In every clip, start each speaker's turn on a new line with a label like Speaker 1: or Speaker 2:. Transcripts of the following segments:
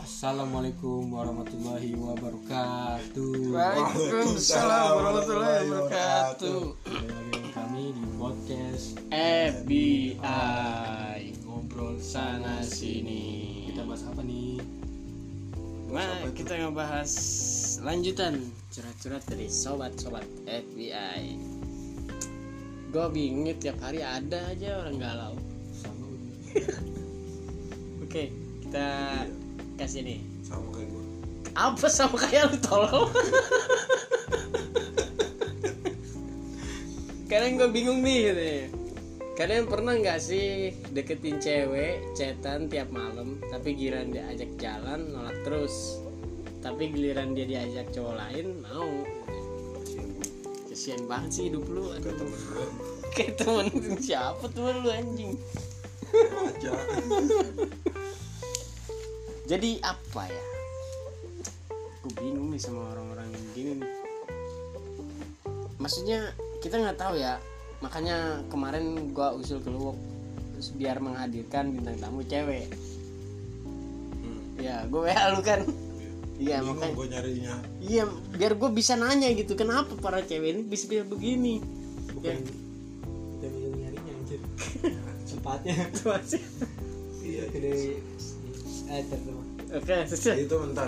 Speaker 1: Assalamualaikum warahmatullahi wabarakatuh.
Speaker 2: Waalaikumsalam warahmatullahi wabarakatuh.
Speaker 1: Kembali lagi dengan kami di podcast
Speaker 2: FBI ngobrol sana sini.
Speaker 1: kita bahas apa nih?
Speaker 2: Nah, kita ngebahas lanjutan curhat-curhat dari sobat-sobat FBI. Gue bingung ya, tiap hari ada aja orang galau.
Speaker 1: Sama
Speaker 2: Oke, kita kasih nih.
Speaker 3: sama kayak gue
Speaker 2: Apa sama kayak lu tolong? Kadang gue bingung nih gitu ya. Kalian pernah nggak sih deketin cewek, cetan tiap malam, tapi giliran diajak jalan nolak terus. Tapi giliran dia diajak cowok lain mau. Kesian banget sih hidup lu. Aduh. Kayak temen siapa temen lu anjing.
Speaker 3: aja
Speaker 2: Jadi apa ya? Gue bingung nih sama orang-orang yang gini nih. Maksudnya kita nggak tahu ya. Makanya kemarin gua usul ke lu terus biar menghadirkan bintang tamu cewek. Ya, gue WA lu kan. Iya,
Speaker 3: Hmm. bingung
Speaker 2: makanya
Speaker 3: gue nyarinya
Speaker 2: iya biar gue bisa nanya gitu kenapa para cewek ini bisa bisa begini. Ya.
Speaker 1: Bukan kita bisa nyarinya anjir. Sempatnya
Speaker 3: iya
Speaker 1: gede. Eh, terus
Speaker 2: Oke, selesai.
Speaker 3: itu bentar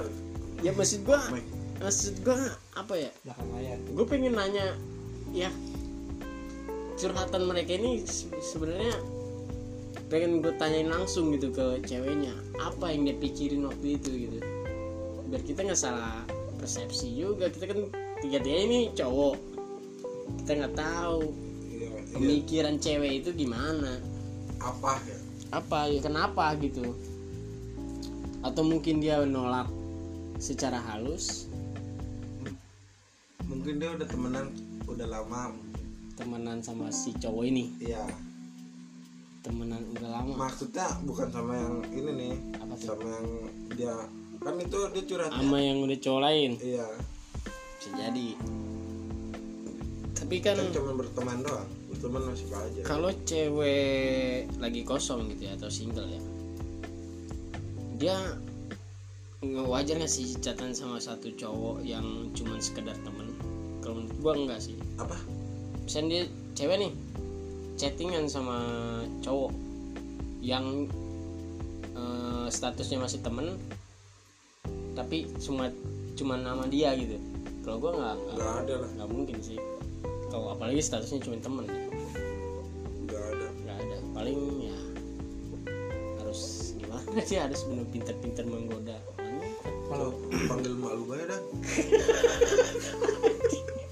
Speaker 2: Ya maksud gua
Speaker 3: Mike.
Speaker 2: maksud gua apa ya?
Speaker 1: belakang layar.
Speaker 2: gue pengen nanya ya curhatan mereka ini se- sebenarnya pengen gue tanyain langsung gitu ke ceweknya apa yang dia pikirin waktu itu gitu biar kita nggak salah persepsi juga kita kan tiga tiga ini cowok kita nggak tahu
Speaker 3: iya iya
Speaker 2: pemikiran cewek itu gimana
Speaker 3: apa ya
Speaker 2: apa ya kenapa gitu atau mungkin dia nolak secara halus
Speaker 3: mungkin dia udah temenan udah lama mungkin.
Speaker 2: temenan sama si cowok ini
Speaker 3: iya
Speaker 2: temenan udah lama
Speaker 3: maksudnya bukan sama yang ini nih
Speaker 2: Apa tuh?
Speaker 3: sama yang dia kan itu dia curhatnya
Speaker 2: sama yang udah cowok lain
Speaker 3: iya
Speaker 2: bisa jadi tapi kan
Speaker 3: kan cuma berteman doang berteman masih apa aja
Speaker 2: kalau cewek lagi kosong gitu ya atau single ya dia nggak wajar nggak sih catatan sama satu cowok yang cuman sekedar temen kalau menurut gua enggak sih
Speaker 3: apa
Speaker 2: misalnya dia cewek nih chattingan sama cowok yang eh, statusnya masih temen tapi cuma cuma nama dia gitu kalau gua nggak nggak-
Speaker 3: nggak ada lah
Speaker 2: nggak mungkin sih kalau apalagi statusnya cuma temen
Speaker 3: nggak ada
Speaker 2: nggak ada paling ya harus gimana sih harus benar pinter-pinter menggoda orangnya
Speaker 1: Kalau
Speaker 3: Lu panggil mak lu aja dah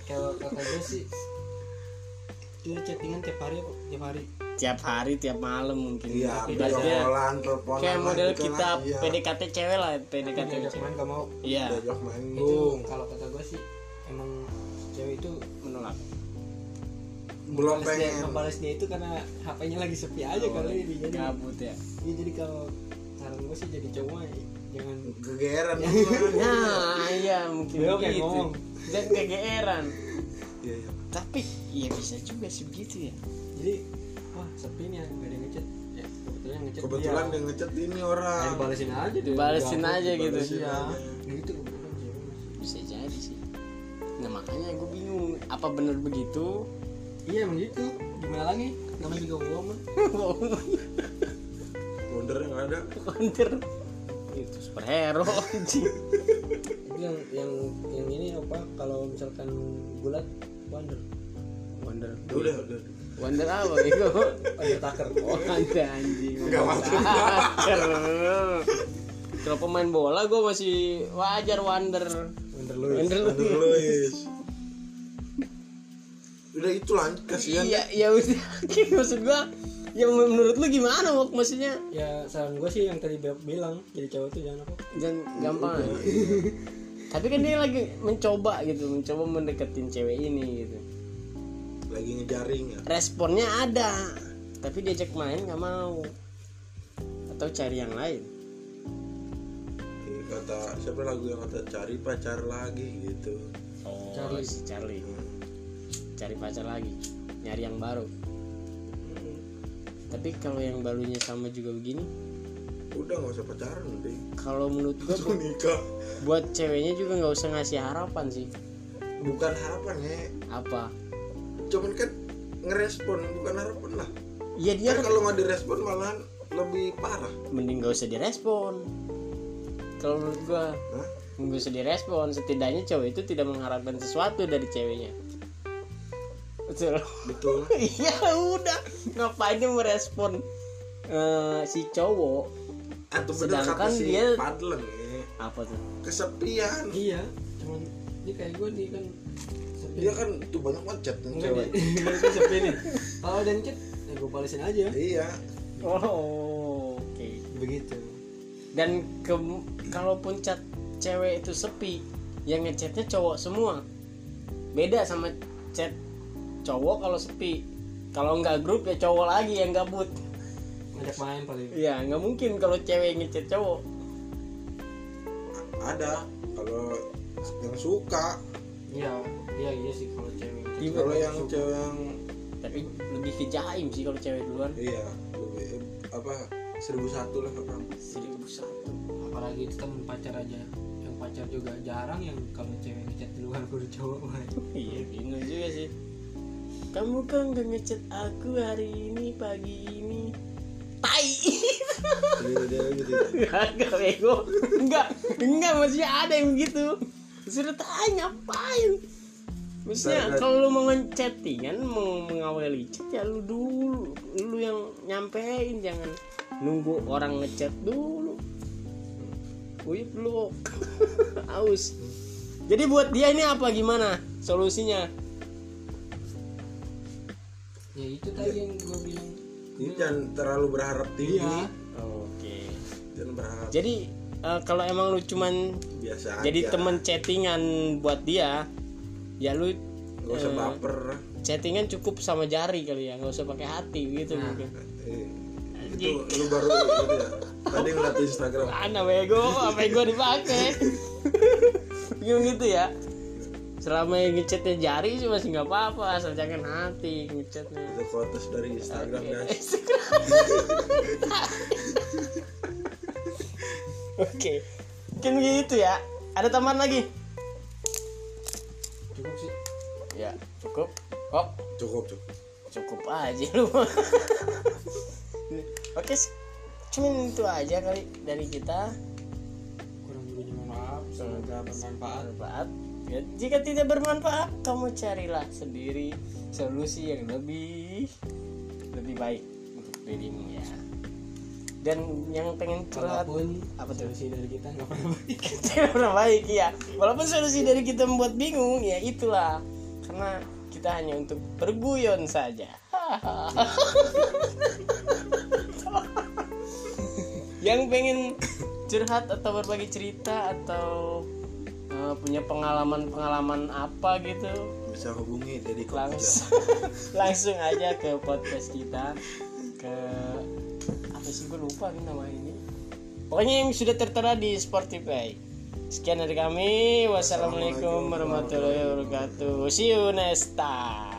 Speaker 1: kalau kata gue sih itu chattingan tiap hari apa? Tiap hari.
Speaker 2: tiap hari tiap malam mungkin
Speaker 3: iya
Speaker 2: Ibaratnya
Speaker 3: videoan teleponan
Speaker 2: kayak
Speaker 3: lah
Speaker 2: model
Speaker 3: gitu
Speaker 2: kita ya?
Speaker 3: lah. iya
Speaker 2: PDKT cewek lah PDKT
Speaker 1: Diajak
Speaker 2: cewek.
Speaker 1: main gak mau.
Speaker 2: iya
Speaker 3: diajak main
Speaker 1: Itu
Speaker 3: dong
Speaker 1: kalau kata gue sih emang cewek itu
Speaker 2: menolak
Speaker 3: belum
Speaker 1: ngebales dia,
Speaker 3: pengen
Speaker 1: ngebales dia itu karena HP-nya lagi sepi aja Iya, kali ini jadi
Speaker 2: kabut ya
Speaker 1: Iya jadi kalau saran gue sih jadi cowok eh, jangan
Speaker 3: gegeran
Speaker 2: nah iya mungkin
Speaker 1: Beliau kayak
Speaker 2: begitu
Speaker 1: ngomong.
Speaker 2: dan kegeeran
Speaker 3: iya iya
Speaker 2: tapi ya bisa juga sih begitu ya
Speaker 1: jadi wah sepi nih gak ada yang ngechat ya kebetulan yang ngechat
Speaker 3: kebetulan
Speaker 1: dia.
Speaker 3: dia ngechat ini
Speaker 1: Ayo
Speaker 3: orang
Speaker 1: balesin aja deh
Speaker 2: Dibalesin
Speaker 1: Udah,
Speaker 2: aja gitu.
Speaker 1: dibalesin
Speaker 3: Iya.
Speaker 1: aja. gitu kebetulan cewek masih.
Speaker 2: bisa jadi sih nah makanya gue bingung apa bener begitu
Speaker 1: iya emang gitu gimana lagi namanya juga uang mah
Speaker 3: wonder yang ada
Speaker 2: Wonder itu superhero anjing
Speaker 1: itu yang yang yang ini apa kalau misalkan gulat wonder
Speaker 2: Wonder
Speaker 3: udah udah
Speaker 2: Wonder apa itu
Speaker 1: undertaker
Speaker 2: oh ada anjing
Speaker 3: Nggak masuk.
Speaker 2: Wonder. kalau pemain bola gue masih wajar Wonder
Speaker 1: wonder lu ya.
Speaker 2: Wonder lu.
Speaker 3: Wonder Luis udah itu lanjut kasihan
Speaker 2: Iya, ya udah. Maksud gua, ya menurut lu gimana? Wak? Maksudnya
Speaker 1: ya saran gue sih yang tadi Beb bilang jadi cowok tuh jangan apa
Speaker 2: jangan gampang. Tapi kan dia lagi mencoba gitu, mencoba mendekatin cewek ini gitu.
Speaker 3: lagi ngejaring ya
Speaker 2: Responnya ada, tapi diajak main nggak mau. Atau cari yang lain.
Speaker 3: Ini kata siapa lagu yang kata cari pacar lagi gitu
Speaker 2: Oh,
Speaker 1: Charlie.
Speaker 2: si Charlie. Cari pacar lagi, nyari yang baru. Tapi kalau yang barunya sama juga begini,
Speaker 3: udah nggak usah pacaran deh
Speaker 2: kalau menurut gue
Speaker 3: langsung nikah
Speaker 2: buat ceweknya juga nggak usah ngasih harapan sih
Speaker 3: bukan harapan ya
Speaker 2: apa
Speaker 3: cuman kan ngerespon bukan harapan lah
Speaker 2: iya dia
Speaker 3: ya
Speaker 2: kan
Speaker 3: kalau nggak direspon malahan lebih parah
Speaker 2: mending nggak usah direspon kalau menurut gua
Speaker 3: Hah?
Speaker 2: nggak usah direspon setidaknya cowok itu tidak mengharapkan sesuatu dari ceweknya betul
Speaker 3: betul
Speaker 2: iya udah ngapain dia merespon eh, si cowok
Speaker 3: atau bener kata
Speaker 2: Sedangkan
Speaker 3: si
Speaker 2: dia-
Speaker 3: Padleng ya
Speaker 2: apa tuh
Speaker 3: kesepian
Speaker 1: iya cuman ini kayak gue nih kan sepi
Speaker 3: dia kan tuh banyak banget chat yang
Speaker 1: enggak
Speaker 3: cewek
Speaker 1: dia dia kan sepi nih kalau dan chat ya gue balesin aja
Speaker 3: iya
Speaker 2: oh oke
Speaker 1: begitu
Speaker 2: dan ke kalaupun chat cewek itu sepi yang ngechatnya cowok semua beda sama chat cowok kalau sepi kalau nggak grup ya cowok lagi yang gabut
Speaker 1: ngajak main paling
Speaker 2: ya nggak mungkin kalau cewek ngechat cowok
Speaker 3: ada kalau yang suka
Speaker 1: iya iya iya sih kalau cewek
Speaker 2: Iya,
Speaker 3: kalau yang cewek yang
Speaker 2: tapi lebih ke jaim sih kalau cewek duluan
Speaker 3: iya lebih apa seribu satu lah kakak
Speaker 2: seribu satu
Speaker 1: apalagi itu temen pacar aja yang pacar juga jarang yang kalau cewek ngechat duluan baru cowok main
Speaker 2: iya bingung juga sih kamu kan gak ngechat aku hari ini pagi ini tai
Speaker 3: Iya, dia gitu
Speaker 2: Enggak bego Enggak Enggak masih ada yang begitu Sudah tanya ngapain Maksudnya
Speaker 3: Bentar, bentar.
Speaker 2: kalau lu mau ngechattingan Mau mengawali chat ya lu dulu Lu yang nyampein Jangan nunggu orang ngechat dulu Uyup lu Aus Jadi buat dia ini apa gimana solusinya
Speaker 1: ya itu tadi yang gue bilang
Speaker 3: Jadi
Speaker 2: Hmm.
Speaker 3: jangan terlalu berharap tinggi
Speaker 1: Iya.
Speaker 2: Oke
Speaker 3: jangan berharap
Speaker 2: Jadi eh, kalau emang lu cuman
Speaker 3: biasa
Speaker 2: jadi
Speaker 3: aja.
Speaker 2: temen chattingan buat dia Ya lu
Speaker 3: nggak usah
Speaker 2: eh,
Speaker 3: baper
Speaker 2: chattingan cukup sama jari kali ya nggak usah pakai hati gitu
Speaker 1: Nah.
Speaker 2: mungkin
Speaker 3: Eh, itu lu baru gitu ya tadi ngeliat di Instagram
Speaker 2: mana bego apa yang gue dipakai gitu gitu ya selama yang ngechatnya jari sih masih nggak apa-apa asal jangan hati ngechatnya
Speaker 3: itu quotes dari Instagram guys
Speaker 2: oke mungkin gitu ya ada tambahan lagi
Speaker 1: cukup sih
Speaker 2: ya cukup oh
Speaker 3: cukup cukup
Speaker 2: cukup aja lu oke cuman itu aja kali dari kita
Speaker 1: kurang lebihnya mohon maaf semoga bermanfaat
Speaker 2: bermanfaat. Ya, jika tidak bermanfaat, kamu carilah sendiri solusi yang lebih lebih baik untuk dirimu ya. Dan yang pengen curhat
Speaker 1: walaupun apa
Speaker 2: Apa tuh?
Speaker 1: solusi dari kita nggak pernah baik
Speaker 2: tidak pernah baik ya. Walaupun solusi dari kita membuat bingung ya itulah karena kita hanya untuk berguyon saja. yang pengen curhat atau berbagi cerita atau eh, punya pengalaman-pengalaman apa gitu
Speaker 3: bisa hubungi jadi
Speaker 2: langsung langsung aja ke podcast kita ke apa sih gue lupa nih nama ini pokoknya yang sudah tertera di Spotify sekian dari kami wassalamualaikum warahmatullahi wabarakatuh see you next time